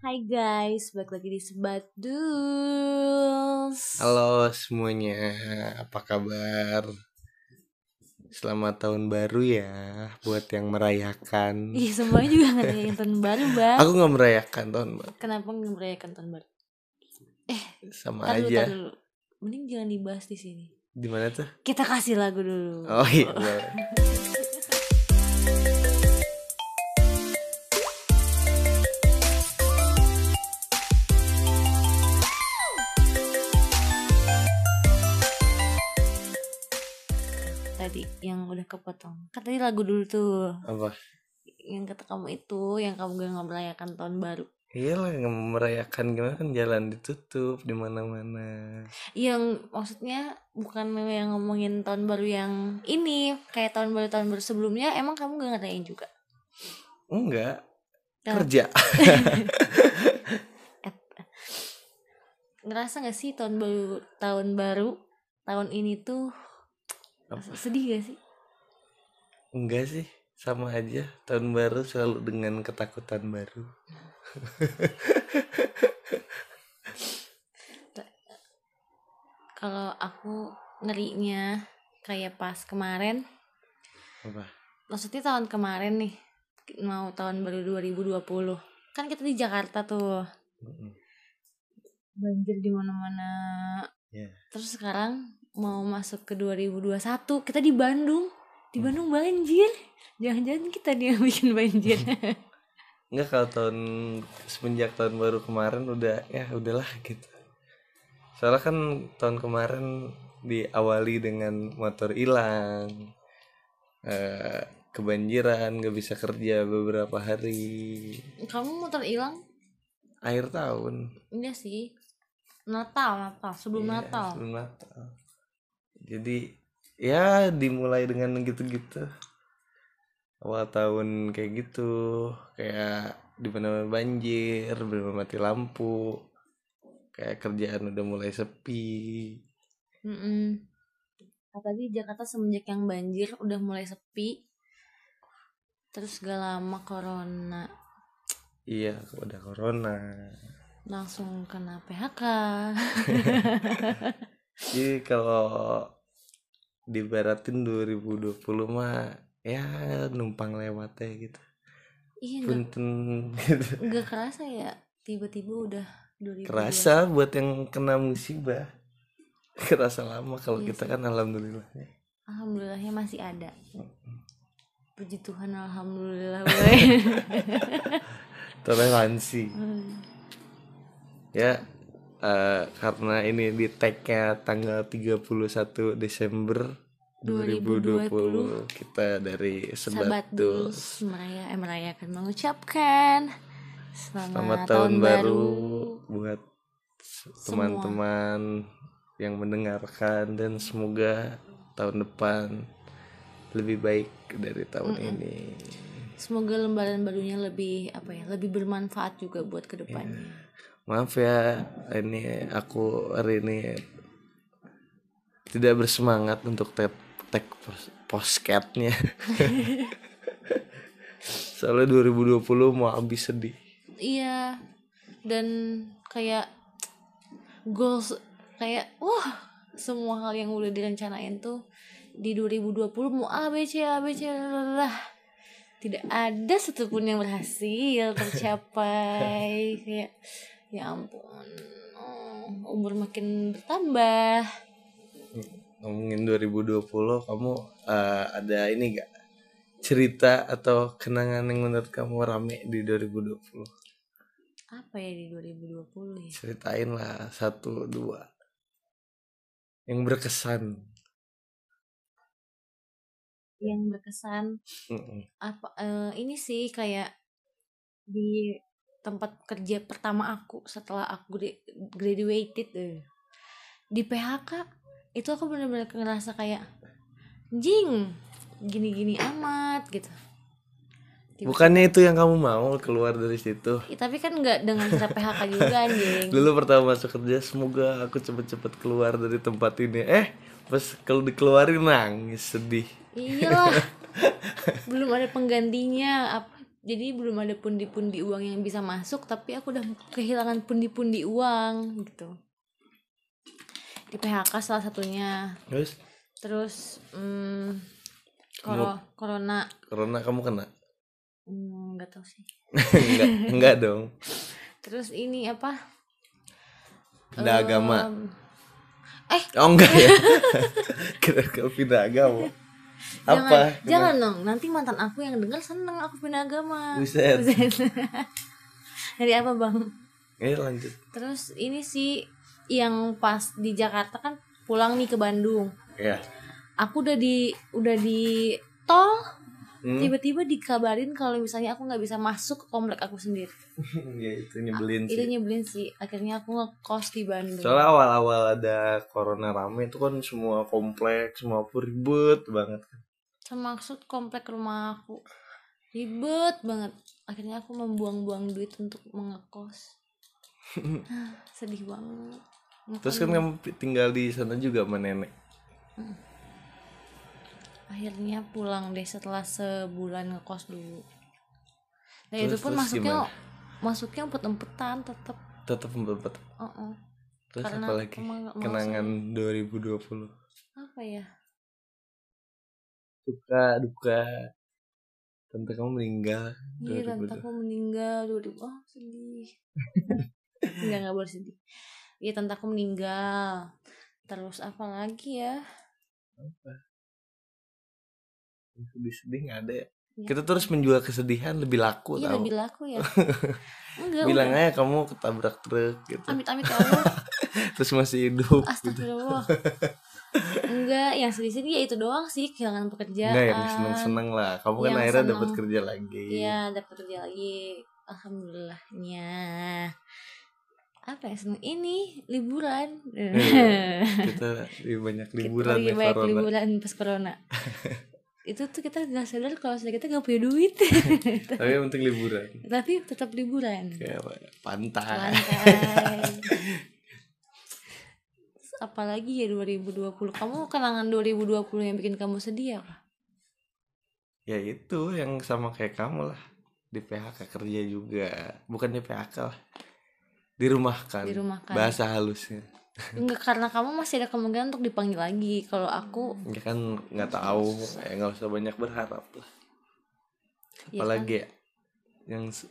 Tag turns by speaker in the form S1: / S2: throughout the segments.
S1: Hai guys, balik lagi di Sebat Duls.
S2: Halo semuanya, apa kabar? Selamat tahun baru ya buat yang merayakan.
S1: Ih, semuanya juga ngerayain tahun baru, Bang.
S2: Aku nggak merayakan tahun baru,
S1: Kenapa nggak merayakan tahun baru?
S2: sama
S1: Tar dulu, tar
S2: aja.
S1: dulu. Mending jangan dibahas di sini.
S2: Di mana tuh?
S1: Kita kasih lagu dulu.
S2: Oh iya. boleh.
S1: Tadi yang udah kepotong. Kan tadi lagu dulu tuh.
S2: Apa?
S1: Yang kata kamu itu, yang kamu gak nggak merayakan tahun baru.
S2: Iya lah nggak mau merayakan gimana kan jalan ditutup di mana-mana.
S1: Yang maksudnya bukan memang yang ngomongin tahun baru yang ini, kayak tahun baru tahun baru sebelumnya, emang kamu gak ngerayain juga?
S2: Enggak.
S1: Nah.
S2: Kerja.
S1: ngerasa gak sih tahun baru tahun baru tahun ini tuh
S2: Apa?
S1: sedih gak sih
S2: Enggak sih. Sama aja. Tahun baru selalu dengan ketakutan baru.
S1: kalau aku ngerinya kayak pas kemarin
S2: Apa?
S1: maksudnya tahun kemarin nih mau tahun baru 2020 kan kita di Jakarta tuh
S2: Mm-mm.
S1: banjir di mana-mana
S2: Iya.
S1: terus sekarang mau masuk ke 2021 kita di Bandung di
S2: Hmm.
S1: Bandung banjir jangan-jangan kita nih yang bikin banjir
S2: Enggak kalau tahun semenjak tahun baru kemarin udah ya udahlah gitu. Soalnya kan tahun kemarin diawali dengan motor hilang, eh, kebanjiran, gak bisa kerja beberapa hari,
S1: kamu motor hilang
S2: akhir tahun.
S1: enggak sih Natal Natal sebelum
S2: Iya,
S1: Natal
S2: sebelum Natal. Jadi ya dimulai dengan gitu-gitu. Awal tahun kayak gitu, kayak di mana banjir, belum mati lampu. Kayak kerjaan udah mulai sepi.
S1: Mm-mm. Apalagi Jakarta semenjak yang banjir udah mulai sepi. Terus gak lama corona
S2: Iya, udah corona.
S1: langsung kena PHK.
S2: Jadi kalau dibaratin 2020 mah ya numpang lewat aja gitu.
S1: Iya gak,
S2: Punten gitu.
S1: gak kerasa ya tiba-tiba udah 2020.
S2: kerasa buat yang kena musibah kerasa lama kalau
S1: Iya
S2: kita
S1: sih.
S2: kan alhamdulillah ya.
S1: Alhamdulillahnya masih ada. Puji Tuhan alhamdulillah. woy.
S2: toleransi
S1: Hmm.
S2: ya eh, karena ini di tag-nya tanggal 31 Desember 2020,
S1: 2020.
S2: kita dari
S1: Sahabat
S2: Sebatus
S1: dus meraya, eh, merayakan mengucapkan selamat,
S2: selamat tahun baru buat se-
S1: Nah, Semua.
S2: teman-teman yang mendengarkan dan semoga tahun depan lebih baik dari tahun ini
S1: Semoga lembaran barunya lebih apa ya, lebih bermanfaat juga buat kedepannya.
S2: Maaf ya, ini aku hari ini tidak bersemangat untuk tek tek pos- posketnya. Soalnya 2020 mau habis sedih.
S1: Iya. Dan kayak goals kayak wah semua hal yang udah direncanain tuh di 2020 mau ABC ABC lah tidak ada satupun yang berhasil tercapai kayak ya ampun oh, umur makin bertambah
S2: Ngomongin 2020, kamu eh, ada ini gak? Cerita atau kenangan yang menurut kamu rame di 2020?
S1: apa ya di 2020 ya
S2: Ceritain lah, satu, dua. Yang berkesan.
S1: yang berkesan
S2: Mm-mm.
S1: apa eh, ini sih kayak di tempat kerja pertama aku setelah aku gra- graduated eh. di PHK itu aku bener-bener ngerasa kayak jing gini-gini amat gitu Tiba-
S2: Bukannya itu yang kamu mau keluar dari situ?
S1: Ih, tapi kan nggak dengan cara PHK juga anjing
S2: Dulu pertama masuk kerja semoga aku cepet-cepet keluar dari tempat ini. Eh, pas kalau dikeluarin nangis sedih.
S1: iyalah belum ada penggantinya apa jadi belum ada pundi-pundi uang yang bisa masuk tapi aku udah kehilangan pundi-pundi uang gitu di PHK salah satunya
S2: terus
S1: terus hmm, koro- corona
S2: corona kamu kena
S1: hmm, nggak tahu sih
S2: enggak enggak dong
S1: terus ini apa
S2: Pindah agama.
S1: Em,
S2: oh enggak ya kira kira pindah agama apa
S1: jangan, jangan dong nanti mantan aku yang dengar seneng aku pindah agama
S2: Buset.
S1: dari apa bang
S2: eh lanjut
S1: terus ini sih yang pas di Jakarta kan pulang nih ke Bandung
S2: ya
S1: aku udah di udah di tol
S2: hmm.
S1: tiba-tiba dikabarin kalau misalnya aku nggak bisa masuk ke komplek aku sendiri
S2: ya itu nyebelin
S1: itu
S2: sih
S1: Ah, nyebelin sih akhirnya aku ngekos di Bandung
S2: soalnya awal-awal ada corona rame itu kan semua kompleks semua apa ribet banget
S1: termaksud komplek rumah aku ribet banget akhirnya aku membuang-buang duit untuk mengekos Hah, sedih banget
S2: terus kan kamu tinggal di sana juga sama nenek
S1: akhirnya pulang deh setelah sebulan ngekos dulu nah
S2: Terus-
S1: itu pun
S2: terus
S1: masuknya
S2: gimana?
S1: masuknya empet-empetan tetep
S2: tetap membuat
S1: uh-uh.
S2: terus
S1: Karena
S2: apa lagi
S1: emang nggak mau
S2: kenangan 2020
S1: apa ya
S2: duka duka tante kamu meninggal
S1: Iya,
S2: 2002.
S1: tante aku meninggal 2000. Oh, sedih. Enggak, enggak boleh sedih. Iya, tante aku meninggal. Terus apa lagi ya?
S2: sedih sedih nggak ada ya
S1: Iya.
S2: kita terus menjual kesedihan lebih laku
S1: Iya,
S2: tau
S1: lebih laku ya. Enggak,
S2: bilang
S1: udah.
S2: aja kamu ketabrak truk gitu
S1: Amit-amit ya Allah.
S2: terus masih hidup gitu
S1: Astagfirullah. Enggak, yang sedih-sedih ya itu doang sih kehilangan pekerjaan.
S2: nggak yang seneng seneng lah kamu kan
S1: Yang Ya Iya,
S2: akhirnya
S1: seneng.
S2: dapat kerja lagi
S1: Iya, dapat kerja lagi. Alhamdulillahnya. Apa yang seneng ini? Liburan.
S2: Iya. kita lebih banyak liburan
S1: kita
S2: ya
S1: lagi banyak
S2: corona
S1: liburan pas corona itu tuh kita nggak sadar kalau sebenarnya kita nggak punya duit
S2: tapi yang penting liburan
S1: tapi tetap liburan
S2: kayak apa ya, pantai
S1: lantai apalagi ya 2020 kamu kenangan 2020 yang bikin kamu sedih apa
S2: ya itu yang sama kayak kamu lah di PHK kerja juga bukan di PHK lah dirumahkan,
S1: Dirumahkan.
S2: bahasa halusnya
S1: enggak kan? karena kamu masih ada kemungkinan untuk dipanggil lagi kalau aku
S2: ya kan nggak tahu ya nggak usah banyak berharap lah
S1: ya
S2: apalagi ya, yang se-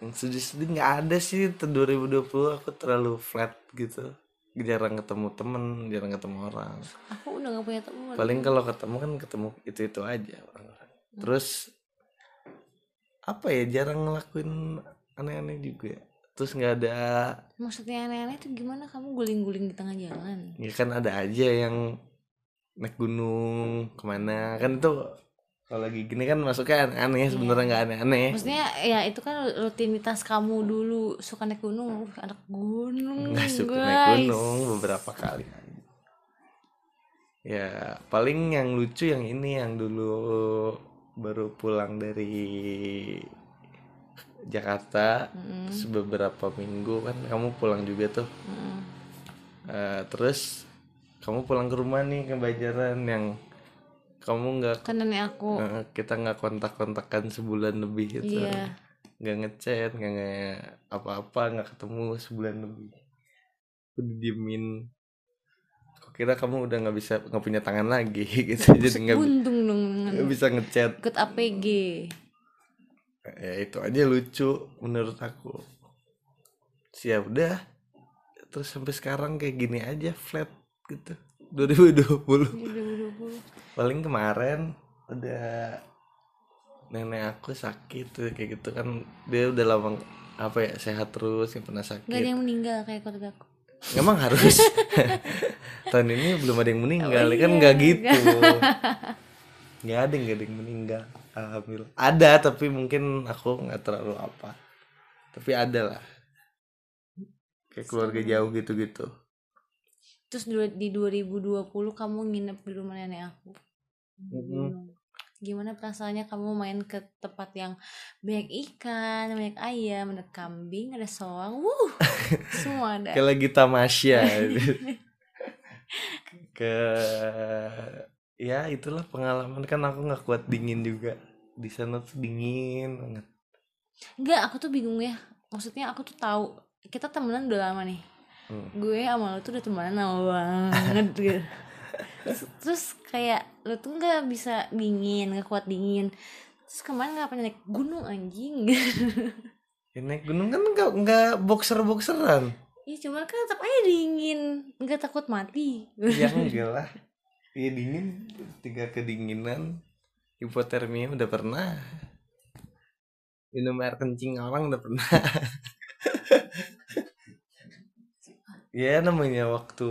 S2: yang sedih-sedih nggak ada sih te- 2020 aku terlalu flat gitu jarang ketemu temen jarang ketemu orang
S1: kan, aku udah nggak punya teman
S2: paling kalau ketemu kan ketemu itu itu aja orang-orang.
S1: Hmm.
S2: terus apa ya jarang ngelakuin aneh-aneh juga terus nggak ada
S1: maksudnya aneh-aneh itu gimana kamu guling-guling di tengah jalan
S2: ya kan ada aja yang naik gunung kemana kan itu kalau lagi gini kan masuknya
S1: Iya.
S2: aneh-aneh sebenarnya nggak aneh-aneh
S1: Maksudnya ya itu kan rutinitas kamu dulu suka naik gunung, Uh, anak gunung.
S2: nggak suka
S1: guys.
S2: naik gunung beberapa kali ya paling yang lucu yang ini yang dulu baru pulang dari Jakarta
S1: Mm-mm,
S2: terus beberapa minggu kan kamu pulang juga tuh
S1: mm-mm.
S2: Eh, terus kamu pulang ke rumah nih ke Banjaran yang kamu nggak
S1: Kan nenek aku.
S2: eh, kita nggak kontak-kontakan sebulan lebih gitu
S1: Iya.
S2: nggak ngechat nggak nge- apa-apa nggak ketemu sebulan lebih aku didiemin aku kira kamu udah nggak bisa nggak punya tangan lagi gitu jadi nggak bi-
S1: Untung dong
S2: nggak
S1: dengan
S2: bisa ngechat
S1: ikut APG.
S2: ya itu aja lucu menurut aku siap udah terus sampai sekarang kayak gini aja flat gitu 2020
S1: Ini 2020.
S2: paling kemarin udah nenek aku sakit tuh, kayak gitu kan dia udah lama apa ya sehat terus yang pernah sakit
S1: Gak ada yang meninggal kayak keluarga aku.
S2: Emang harus tahun ini belum ada yang meninggal,
S1: Oh,
S2: ya kan
S1: iya,
S2: nggak gitu. Nggak ada nggak ada yang meninggal. Alhamdulillah. Ada tapi mungkin aku nggak terlalu apa. Tapi ada lah. Kayak keluarga jauh gitu-gitu.
S1: Terus du- di 2020 kamu nginep di rumah nenek aku. Hmm.
S2: Mhm.
S1: Gimana perasaannya kamu main ke tempat yang banyak ikan, banyak ayam, ada kambing, ada soang, wuh, semua ada.
S2: Kayak lagi tamasya. Ke ya itulah pengalaman kan aku nggak kuat dingin juga. di sana tuh dingin banget
S1: Enggak, aku tuh bingung ya. Maksudnya aku tuh tahu kita temenan udah lama nih.
S2: Hmm.
S1: Gue sama lu tuh udah temenan lama banget gitu. Terus, terus kayak lu tuh nggak bisa dingin, nggak kuat dingin. Terus kemarin ngapain naik gunung anjing?
S2: Ya, naik gunung kan nggak nggak boxer boxeran
S1: ya cuman kan tetap aja dingin, nggak takut mati.
S2: ya enggak lah ya dingin tiga kedinginan hipotermia udah pernah minum air kencing orang udah pernah ya namanya waktu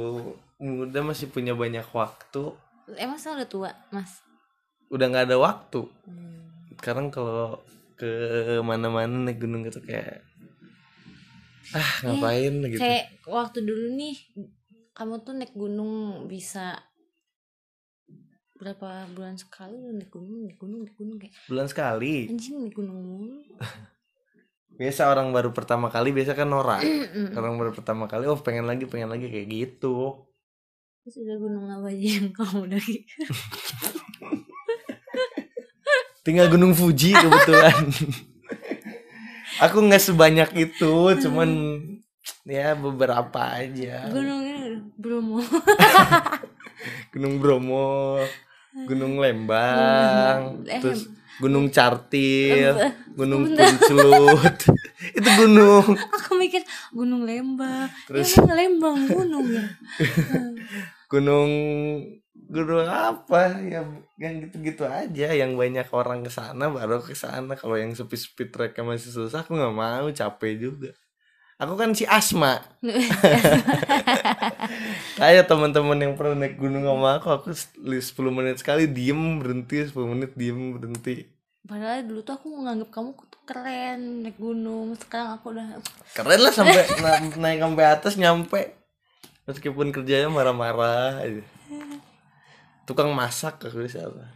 S2: muda masih punya banyak waktu
S1: Emang sekarang udah tua, Mas?
S2: udah nggak ada waktu
S1: Hmm.
S2: sekarang kalau ke mana-mana naik gunung gitu kayak ah ngapain gitu
S1: Kayak waktu dulu nih kamu tuh naik gunung bisa berapa bulan sekali lu naik gunung, naik gunung, naik gunung kayak
S2: bulan sekali
S1: anjing naik gunung mulu.
S2: biasa orang baru pertama kali biasa kan norak
S1: Mm-mm.
S2: orang baru pertama kali oh pengen lagi pengen lagi kayak gitu
S1: Terus udah gunung apa aja yang kamu daki?
S2: tinggal gunung Fuji kebetulan aku nggak sebanyak itu cuman ya beberapa aja
S1: Gunungnya Bromo.
S2: gunung Bromo gunung Hmm. Lembang
S1: Eh,
S2: terus gunung Cartil
S1: eh,
S2: gunung
S1: bentar.
S2: Puncelut itu gunung
S1: Aku mikir gunung Lembang.
S2: Terus-
S1: Terus ya, emang Lembang gunung ya.
S2: gunung gunung apa ya yang gitu-gitu aja yang banyak orang ke sana baru ke sana kalau yang sepi-sepi treknya masih susah aku nggak mau capek juga aku kan si asma kayak teman-teman yang pernah naik gunung sama aku aku s- li- 10 menit sekali diem berhenti 10 menit diem berhenti
S1: Padahal dulu tuh aku nganggap kamu tuh keren naik gunung. Sekarang aku udah
S2: keren lah sampai na- naik sampai atas nyampe meskipun kerjanya marah-marah aja tukang masak aku di sana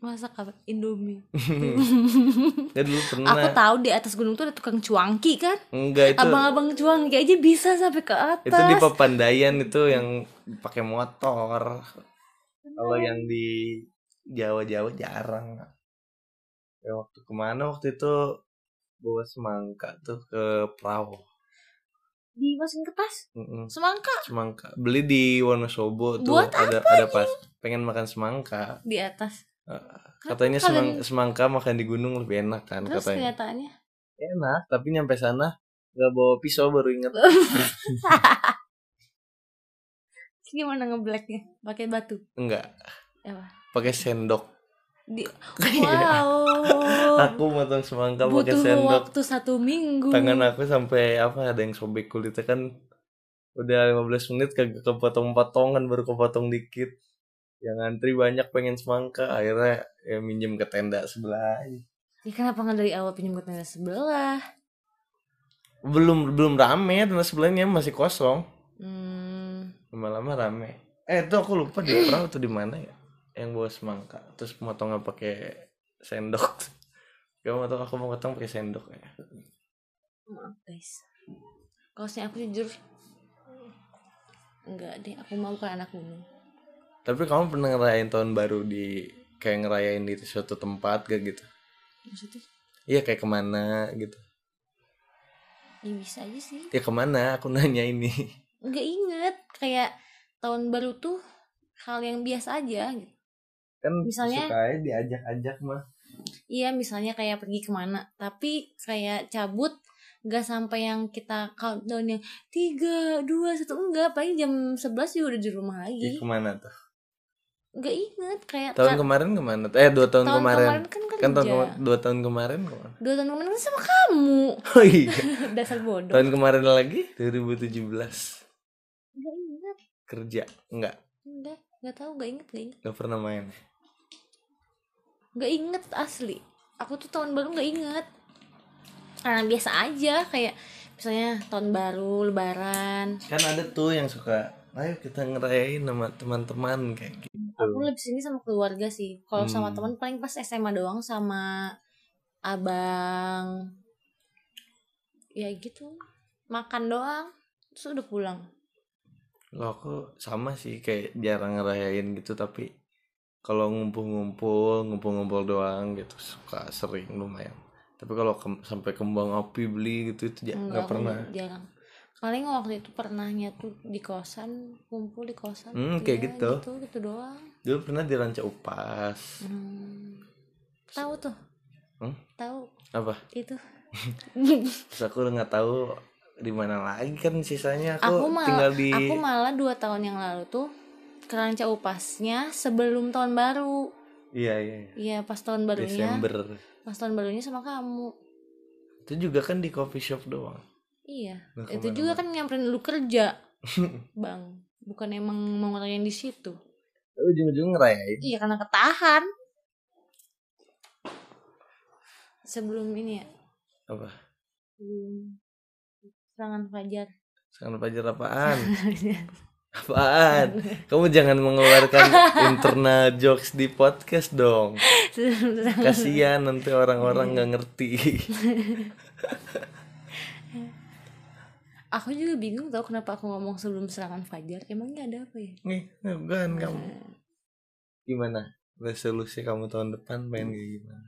S1: masak apa? Indomie.
S2: Nggak, dulu pernah
S1: Aku tahu di atas gunung tuh ada tukang cuangki kan.
S2: Enggak Nah. itu
S1: Abang-abang cuangki aja bisa sampai ke atas.
S2: itu di Papandayan itu yang pakai motor. Kalau yang di Jawa-Jawa jarang. Ya, waktu kemana waktu itu bawa semangka tuh ke perahu.
S1: Dimasukin ke tas.
S2: Mm-mm,
S1: Semangka
S2: semangka beli di Wonosobo tuh
S1: Buat
S2: ada ada pas pengen makan semangka
S1: di atas.
S2: Ah, katanya
S1: Kenapa
S2: semang- semangka makan di gunung lebih enak kan
S1: Terus
S2: katanya
S1: kenyataannya
S2: enak tapi nyampe sana nggak bawa pisau baru inget
S1: Terus gimana ngeblacknya? Pakai batu.
S2: enggak
S1: Apa?
S2: pakai sendok
S1: Di-
S2: Kayak-
S1: Wow.
S2: Iya. aku motong semangka pakai
S1: Butuh
S2: sendok
S1: waktu satu minggu.
S2: tangan aku sampai apa ada yang sobek kulitnya kan udah 15 menit kagak kepotong-potongan baru kepotong dikit yang antri banyak pengen semangka akhirnya ya, minjem ke tenda sebelah aja.
S1: Ya kenapa nggak dari awal pinjam ke tenda sebelah?
S2: belum belum rame tenda sebelahnya masih kosong
S1: Hmm.
S2: lama-lama rame eh itu aku lupa di perahu tuh di mana ya yang bawa semangka terus motongnya pakai sendok ya motong aku mau potong pakai sendok ya
S1: Maaf guys. Kalau saya aku jujur enggak deh, aku mau bukan anak gunung.
S2: Tapi kamu pernah ngerayain tahun baru di kayak ngerayain di suatu tempat gak gitu?
S1: Maksudnya
S2: Iya kayak kemana gitu?
S1: ya bisa aja sih.
S2: Ya kemana? Aku nanya ini.
S1: Enggak inget kayak tahun baru tuh hal yang biasa aja gitu.
S2: Kan
S1: Misalnya-
S2: suka aja diajak-ajak mah.
S1: Iya misalnya kayak pergi kemana Tapi kayak cabut Gak sampai yang kita countdown yang Tiga, dua, satu Enggak paling jam 11 juga udah di rumah
S2: Iya
S1: lagi
S2: kemana tuh?
S1: Gak inget kayak
S2: Tahun
S1: ka-
S2: kemarin kemana? tuh? Eh dua tahun,
S1: tahun
S2: kemarin.
S1: kan
S2: Kan
S1: kerja
S2: tahun kema- dua tahun kemarin kemana?
S1: Dua tahun kemarin kan sama kamu
S2: Oh iya.
S1: Dasar bodoh
S2: tahun kemarin lagi 2017
S1: Gak inget
S2: kerja nggak
S1: Enggak Gak tau gak inget gak inget
S2: nggak pernah main
S1: Gak inget asli Aku tuh tahun baru gak inget Karena biasa aja kayak Misalnya tahun baru, lebaran
S2: kan ada tuh yang suka ayo kita ngerayain sama teman-teman kayak gitu
S1: aku lebih sini sama keluarga sih kalau sama
S2: Hmm.
S1: teman paling pas SMA doang sama abang ya gitu makan doang terus udah pulang
S2: Lo aku sama sih kayak jarang ngerayain gitu tapi kalau ngumpul-ngumpul ngumpul-ngumpul doang gitu suka sering lumayan tapi kalau ke- sampai kembang api beli gitu itu ja-
S1: Enggak,
S2: nggak
S1: aku
S2: pernah
S1: jarang paling waktu itu pernahnya tuh di kosan kumpul di kosan
S2: Hmm,
S1: gitu
S2: kayak
S1: ya,
S2: gitu.
S1: gitu gitu doang
S2: dulu pernah di ranca upas
S1: Hmm. tahu tuh
S2: Hmm?
S1: tahu
S2: apa
S1: itu
S2: terus aku udah nggak tahu di mana lagi kan sisanya aku,
S1: aku malah
S2: tinggal di
S1: aku malah dua tahun yang lalu tuh keranca upasnya sebelum tahun baru
S2: iya iya iya.
S1: iya pas tahun barunya
S2: Desember
S1: pas tahun barunya sama kamu
S2: itu juga kan di coffee shop doang Nah,
S1: iya itu
S2: Nggak kemana-mana.
S1: juga kan nyamperin lu kerja bang bukan emang mau ngerayain di situ
S2: Tapi ujung-ujung ngerayain
S1: iya karena ketahan sebelum ini ya
S2: apa
S1: sebelum serangan fajar
S2: sekarang pajar apaan apaan kamu jangan mengeluarkan internal jokes di podcast dong
S1: sebelum serangan
S2: kasihan nanti orang-orang nggak ngerti
S1: aku juga bingung tau kenapa aku ngomong sebelum serangan fajar emangnya ada apa ya Nah,
S2: nih bukan kamu gimana resolusi kamu tahun depan pengen kayak gimana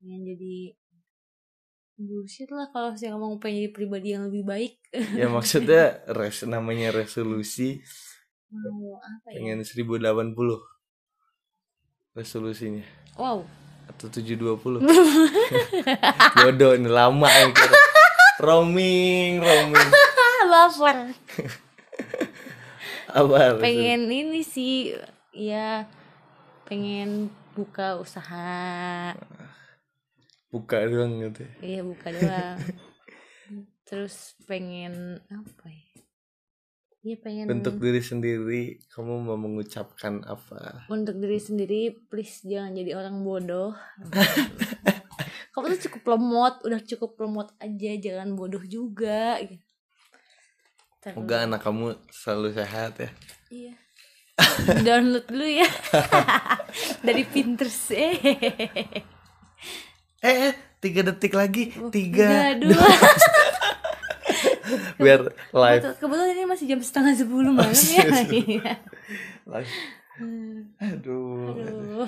S1: pengen jadi bullshit lah kalau saya ngomong pengen jadi pribadi yang lebih baik
S2: ya maksudnya res namanya resolusi
S1: mau apa ya
S2: pengen 1080 resolusinya
S1: wow
S2: atau 720 bodoh ini lama ya kira. roaming roaming
S1: ah baper
S2: apa resolusi?
S1: pengen ini sih ya pengen buka usaha
S2: buka doang gitu ya.
S1: iya buka doang terus pengen apa ya Iya pengen
S2: untuk diri sendiri kamu mau mengucapkan apa
S1: untuk diri sendiri please jangan jadi orang bodoh kamu tuh cukup lemot udah cukup lemot aja jangan bodoh juga gitu. Terus-
S2: Semoga anak kamu selalu sehat ya
S1: iya download dulu ya dari Pinterest eh
S2: Eh, eh, tiga detik lagi
S1: Oh, tiga
S2: tiga
S1: dua
S2: biar live
S1: Kebetul- kebetulan ini masih jam setengah sepuluh
S2: Oh,
S1: malam ya Iya.
S2: live aduh,
S1: aduh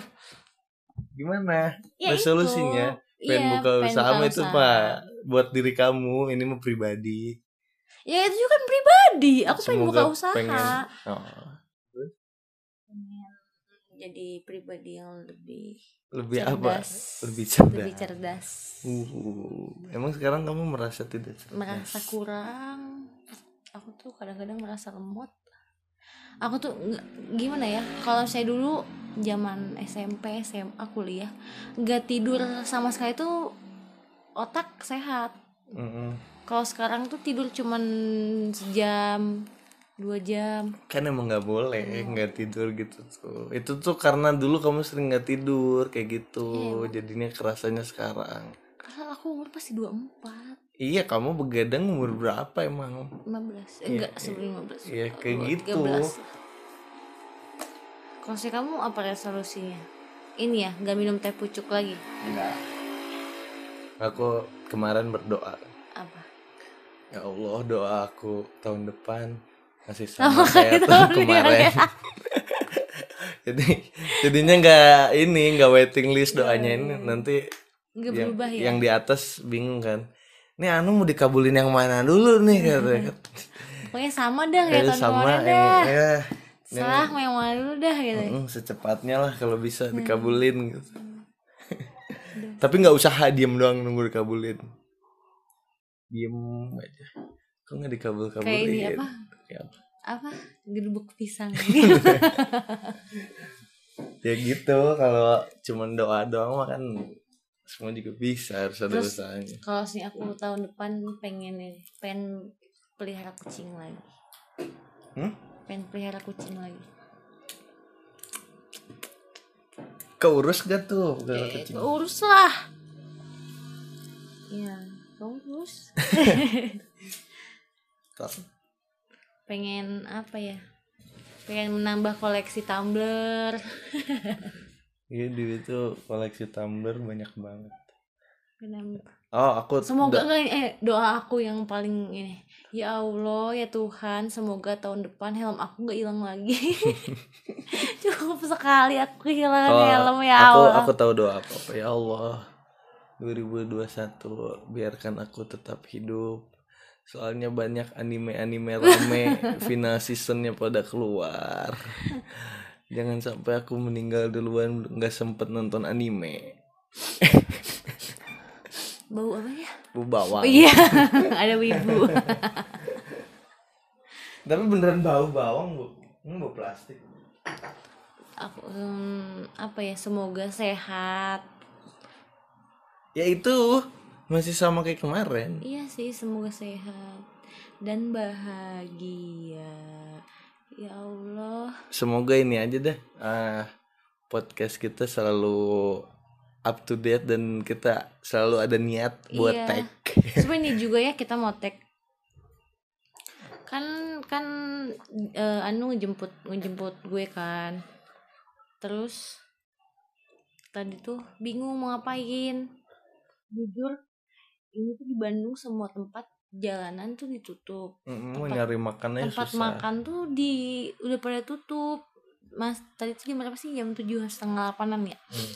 S2: gimana
S1: Ya,
S2: resolusinya
S1: itu. Iya,
S2: pengen buka
S1: pengen
S2: usaha
S1: buka
S2: apa itu
S1: usaha.
S2: pak buat diri kamu ini mah pribadi
S1: ya itu juga kan pribadi aku pengen buka
S2: Semoga
S1: usaha
S2: pengen- oh,
S1: jadi pribadi yang lebih
S2: lebih apa
S1: cerdas.
S2: lebih cerdas,
S1: lebih cerdas
S2: Uh, emang sekarang kamu merasa tidak cerdas
S1: merasa kurang aku tuh kadang-kadang merasa lemot aku tuh nggak- gimana ya kalau saya dulu zaman SMP SMA kuliah nggak tidur sama sekali tuh otak sehat
S2: Mm-mm.
S1: kalau sekarang tuh tidur cuman sejam dua jam
S2: kan emang nggak boleh nggak tidur gitu tuh itu tuh karena dulu kamu sering nggak tidur kayak gitu jadinya kerasanya sekarang
S1: padahal aku umur pasti dua empat
S2: iya kamu begadang umur berapa emang
S1: lima belas Eh,
S2: Iya,
S1: enggak
S2: iya.
S1: sebelum lima belas
S2: Iya, kayak gitu.
S1: kalau saya kamu apa resolusinya ini ya nggak minum teh pucuk lagi
S2: Enggak. Aku kemarin berdoa.
S1: apa
S2: Ya Allah, doa aku tahun depan masih sama
S1: Sama
S2: kayak
S1: kayak
S2: tahun
S1: tahun
S2: kemarin. Jadi jadinya nggak ini nggak waiting list doanya ini nanti
S1: nggak
S2: yang,
S1: berubah ya
S2: yang di atas bingung kan. Ini Anu mau dikabulin yang mana dulu nih katanya.
S1: pokoknya sama dah kayak
S2: Kayak
S1: tahun
S2: Eh, sama
S1: kemarin dah
S2: yang, ya,
S1: salah mau yang mana dulu dah gitu
S2: mm, secepatnya lah kalau bisa
S1: Hmm.
S2: dikabulin gitu. Tapi nggak usaha diem doang nunggu dikabulin. Diem aja. Kok nggak dikabul-kabulin?
S1: kayak ini apa
S2: Ya, apa?
S1: apa gerubuk pisang
S2: Ya gitu kalau cuman doa doang mah kan semua juga bisa harus ada
S1: Terus-
S2: usahanya.
S1: kalau sih aku tahun depan pengen ini- pengen pelihara kucing lagi
S2: Hmm?
S1: pengen pelihara kucing lagi
S2: Keurus gak tuh gara-gara
S1: Eh,
S2: kecil?
S1: urus lah ya kamu urus
S2: Tas-
S1: pengen apa ya pengen menambah koleksi tumbler
S2: Iya duit tuh koleksi tumbler banyak banget.
S1: Pengen-
S2: Oh aku
S1: semoga kan,
S2: da-
S1: enggak, eh, doa aku yang paling ini Ya Allah, ya Tuhan, semoga tahun depan helm aku nggak hilang lagi. Cukup sekali aku kehilangan
S2: Kalau
S1: helm ya
S2: oh, aku
S1: Allah.
S2: aku tahu doa apa, apa. ya Allah 2021 biarkan aku tetap hidup soalnya banyak anime-anime rame final seasonnya pada keluar jangan sampai aku meninggal duluan nggak sempet nonton anime
S1: Bau apa ya?
S2: bu bawang
S1: Iya, ada wibu.
S2: tapi beneran bau bawang bu ini bau plastik
S1: aku em, apa ya? Semoga sehat.
S2: ya itu masih sama kayak kemarin
S1: Iya sih, semoga sehat dan bahagia. Ya Allah.
S2: semoga ini aja deh ah, podcast kita selalu up to date dan kita selalu ada niat buat
S1: Iya.
S2: tag
S1: Cuma ini juga ya kita mau tag kan kan eh, Anu ngejemput ngejemput gue kan terus tadi tuh bingung mau ngapain jujur ini tuh di Bandung semua tempat jalanan tuh ditutup
S2: Mm, mau nyari makannya
S1: tempat
S2: susah
S1: makan tuh di udah pada tutup mas tadi tuh jam berapa sih jam tujuh setengah delapanan ya
S2: Hmm.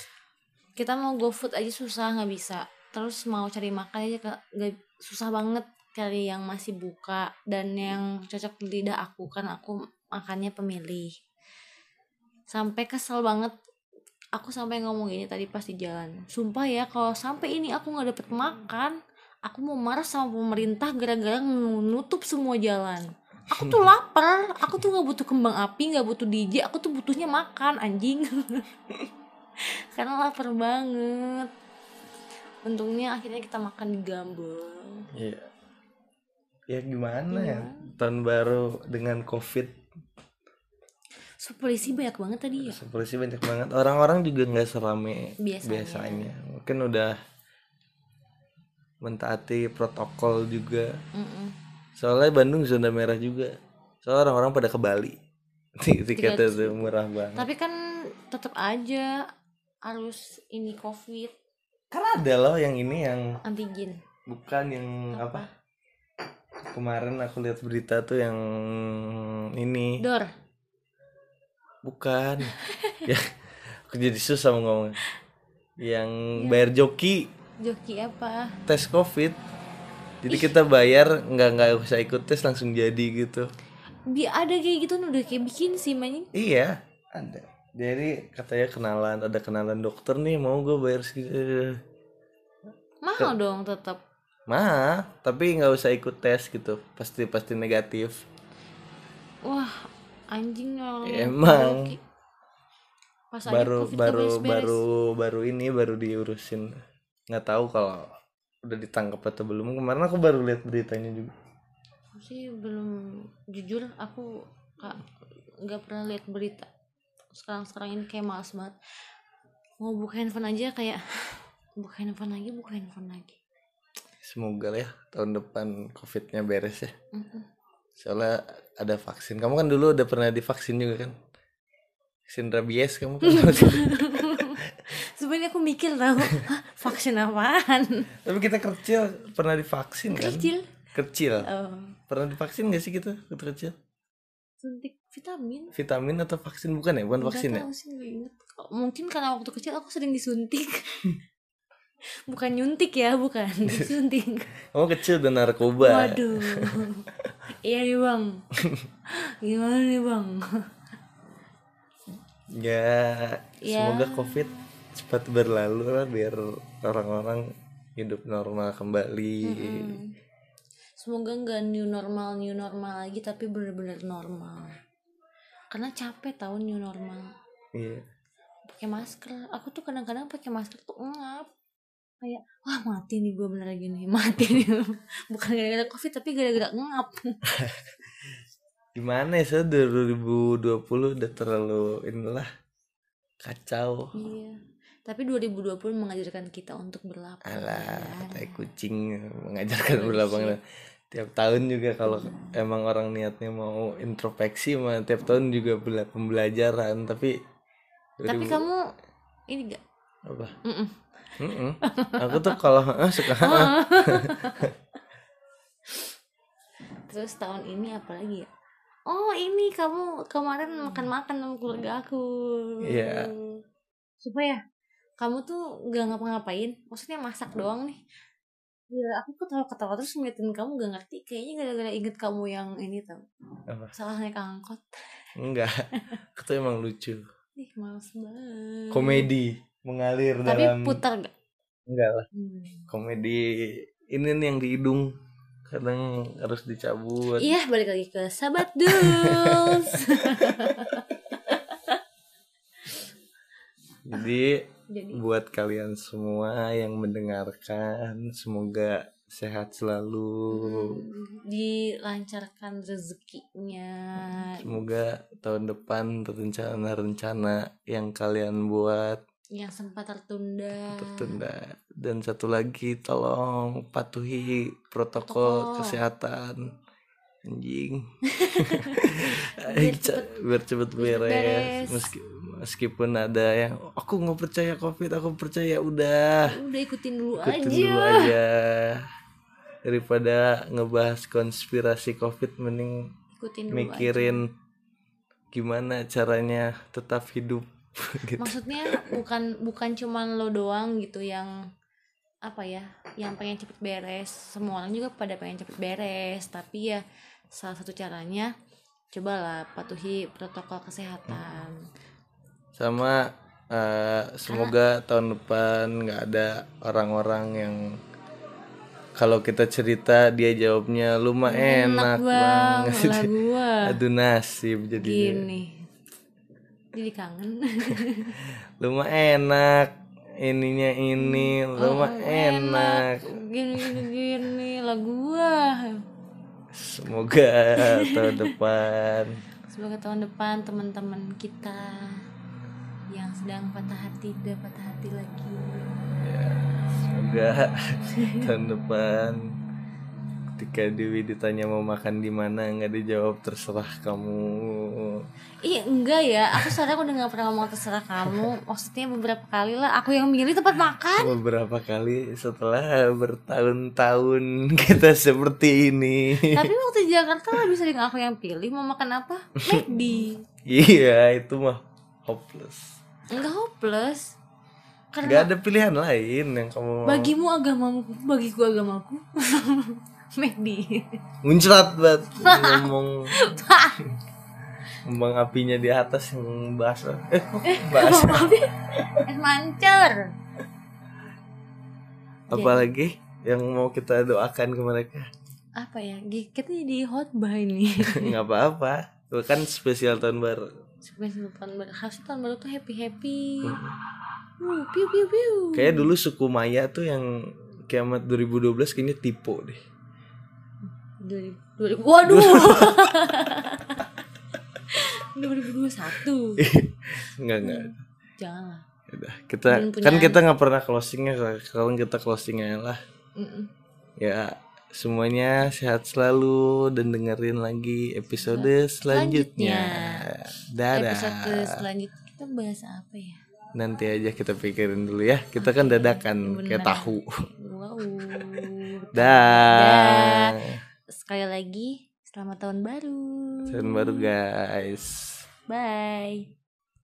S1: kita mau go food aja susah nggak bisa terus mau cari makan aja ke, nggak- susah banget cari yang masih buka dan yang cocok di lidah aku kan aku makannya pemilih sampai kesel banget aku sampai ngomong gini tadi pas di jalan sumpah ya kalau sampai ini aku nggak dapet makan aku mau marah sama pemerintah gara-gara menutup semua jalan aku tuh lapar aku tuh nggak butuh kembang api nggak butuh DJ aku tuh butuhnya makan anjing karena lapar banget untungnya akhirnya kita makan di Gambol
S2: Iya. ya gimana ya
S1: Gimana?
S2: tahun baru dengan covid
S1: so, polisi banyak banget tadi ya
S2: polisi banyak banget orang-orang juga nggak serame
S1: Biasanya.
S2: biasanya mungkin udah mentaati protokol juga
S1: Mm-mm.
S2: Soalnya Bandung zona merah juga. Soalnya orang-orang pada ke Bali. Tik- Tiketnya tuh murah banget.
S1: tapi kan tetap aja harus ini covid
S2: Kan ada loh yang ini yang
S1: antigen
S2: bukan yang apa? Kemarin aku lihat berita tuh yang ini
S1: dor
S2: bukan. ya, aku jadi susah mau ngomong. Yang bayar joki
S1: joki apa
S2: tes covid. Jadi kita bayar nggak nggak usah ikut tes langsung jadi gitu.
S1: bi ada kayak gitu udah kayak bikin sih main
S2: Iya, ada. Jadi katanya kenalan, ada kenalan dokter nih mau gue bayar eh. segitu.
S1: mahal dong tetap
S2: Mah, tapi nggak usah ikut tes gitu. Pasti pasti negatif.
S1: wah anjing orang
S2: Emang.
S1: joki. pas aja
S2: baru
S1: COVID tuh
S2: baru
S1: beres-beres.
S2: baru baru ini baru diurusin. Nggak tahu kalau udah ditangkap atau belum. Kemarin aku baru lihat beritanya juga.
S1: Aku sih belum jujur aku ka- nggak pernah lihat berita sekarang sekarang ini kayak males banget mau buka handphone aja kayak buka handphone lagi buka handphone lagi
S2: Semoga lah ya tahun depan covidnya beres ya.
S1: Mm-mm.
S2: Soalnya ada vaksin. Kamu kan dulu udah pernah divaksin juga kan? Vaksin rabies kamu kan?
S1: sebenarnya aku mikir tau "Hah, vaksin apaan
S2: Tapi kita kecil pernah divaksin kan?
S1: kecil
S2: Kecil.
S1: Eh,
S2: Pernah divaksin gak sih kita waktu kecil?
S1: suntik vitamin
S2: Vitamin atau vaksin bukan ya? Bukan
S1: Nggak
S2: vaksin ya?
S1: tahu sih, nggak inget. Kok- mungkin karena waktu kecil aku sering disuntik bukan nyuntik ya bukan disuntik
S2: Kamu Oh, kecil udah narkoba.
S1: Waduh. iya nih bang. Gimana nih bang?
S2: Ya,
S1: Ya.
S2: semoga covid cepat berlalu lah biar orang-orang hidup normal kembali.
S1: Semoga nggak new normal new normal lagi tapi bener-bener normal. Karena capek tahun new normal.
S2: Iya.
S1: Pakai masker. Aku tuh kadang-kadang pakai masker tuh ngap. Kayak wah mati nih gue bener gini mati nih. Bukan gara-gara covid tapi gara-gara ngap.
S2: Gimana ya, saya 2020 udah terlalu inilah kacau.
S1: iya. Tapi 2020 mengajarkan kita untuk berlapang.
S2: Alah,
S1: ya.
S2: tai kucing mengajarkan berlapangan. Tiap tahun juga kalau emang orang niatnya mau introspeksi mah tiap tahun juga bela- pembelajaran, tapi
S1: Tapi
S2: Aduh,
S1: kamu ini gak
S2: apa?
S1: Mm-mm.
S2: Mm-mm. eh,
S1: Oh.
S2: Aku tuh kalau ah, suka
S1: terus tahun ini apa lagi ya oh ini kamu kemarin makan-makan sama keluarga aku
S2: Iya.
S1: supaya kamu tuh nggak ngapa-ngapain maksudnya masak doang nih ya aku ketawa-ketawa terus ngeliatin kamu gak ngerti kayaknya gara-gara inget kamu yang ini tau
S2: Apa?
S1: salah naik angkot
S2: Enggak. Itu emang lucu.
S1: ih males banget
S2: Komedi mengalir
S1: Hmm. tapi
S2: dalam
S1: putar gak
S2: enggak lah.
S1: Hmm.
S2: Komedi ini nih yang di hidung kadang harus dicabut.
S1: iya balik lagi ke sahabat duls
S2: Jadi
S1: jadi
S2: buat kalian semua yang mendengarkan semoga sehat selalu.
S1: Hmm, dilancarkan rezekinya
S2: Semoga tahun depan rencana-rencana yang kalian buat
S1: yang sempat tertunda
S2: tertunda dan satu lagi tolong patuhi protokol,
S1: Protokol.
S2: kesehatan anjing
S1: Biar cepet-
S2: biar cepet
S1: biar
S2: beres,
S1: beres.
S2: Meski- meskipun ada yang aku nggak percaya covid aku percaya udah
S1: udah ikutin dulu
S2: ikutin
S1: aja
S2: dulu aja daripada ngebahas konspirasi covid mending
S1: ikutin dulu aja.
S2: mikirin gimana caranya tetap hidup gitu
S1: maksudnya bukan bukan cuman lo doang gitu yang apa ya yang pengen cepet beres semua orang juga pada pengen cepet beres tapi ya salah satu caranya cobalah patuhi protokol kesehatan
S2: sama eh, semoga tahun depan nggak ada orang-orang yang kalau kita cerita dia jawabnya lu mah enak, banget Iya.
S1: malah gua
S2: aduh nasib jadi
S1: gini jadi kangen
S2: lu mah enak ininya ini lu mah Oh, enak
S1: gini gini gini lah gua
S2: semoga tahun depan
S1: Semoga tahun depan teman-teman kita yang sedang patah hati udah patah hati lagi.
S2: semoga tahun depan ketika Dewi ditanya mau makan di mana nggak dijawab terserah kamu
S1: Ih enggak ya, aku sekarang udah nggak pernah ngomong terserah kamu. Maksudnya beberapa kali lah aku yang milih tempat makan.
S2: beberapa kali setelah bertahun-tahun kita seperti ini
S1: Tapi waktu di Jakarta lebih sering aku yang pilih mau makan apa. McD.
S2: iya itu mah hopeless
S1: Enggak hopeless. Karena
S2: nggak ada pilihan lain yang kamu mau
S1: bagimu agamamu, bagiku agamaku. McD.
S2: muncrat banget ngomong ngomong apinya di atas yang basah eh kok basah
S1: ya. Es mancur.
S2: apalagi yang mau kita doakan ke mereka
S1: Apa ya? Kita jadi khotbah ini.
S2: nggak apa-apa itu kan spesial tahun baru
S1: Sebenarnya tahun baru harusnya tahun baru tuh happy happy. Uh, piu piu piu.
S2: kayak dulu suku Maya tuh yang kiamat 2012 kayaknya tipe deh
S1: Dua ribu- dua ribu- Waduh. 2021
S2: nggak nggak
S1: janganlah
S2: Udah, kita
S1: Dan punya
S2: kan
S1: anak.
S2: kita nggak pernah closingnya sekarang kita closing aja lah
S1: Mm-mm.
S2: ya semuanya sehat selalu dan dengerin lagi episode selanjutnya, dadah
S1: episode ke- selanjutnya kita bahas apa ya
S2: nanti aja kita pikirin dulu ya kita kan dadakan kayak
S1: Beneran.
S2: tahu
S1: wow
S2: dah
S1: sekali lagi selamat tahun baru
S2: tahun baru guys
S1: bye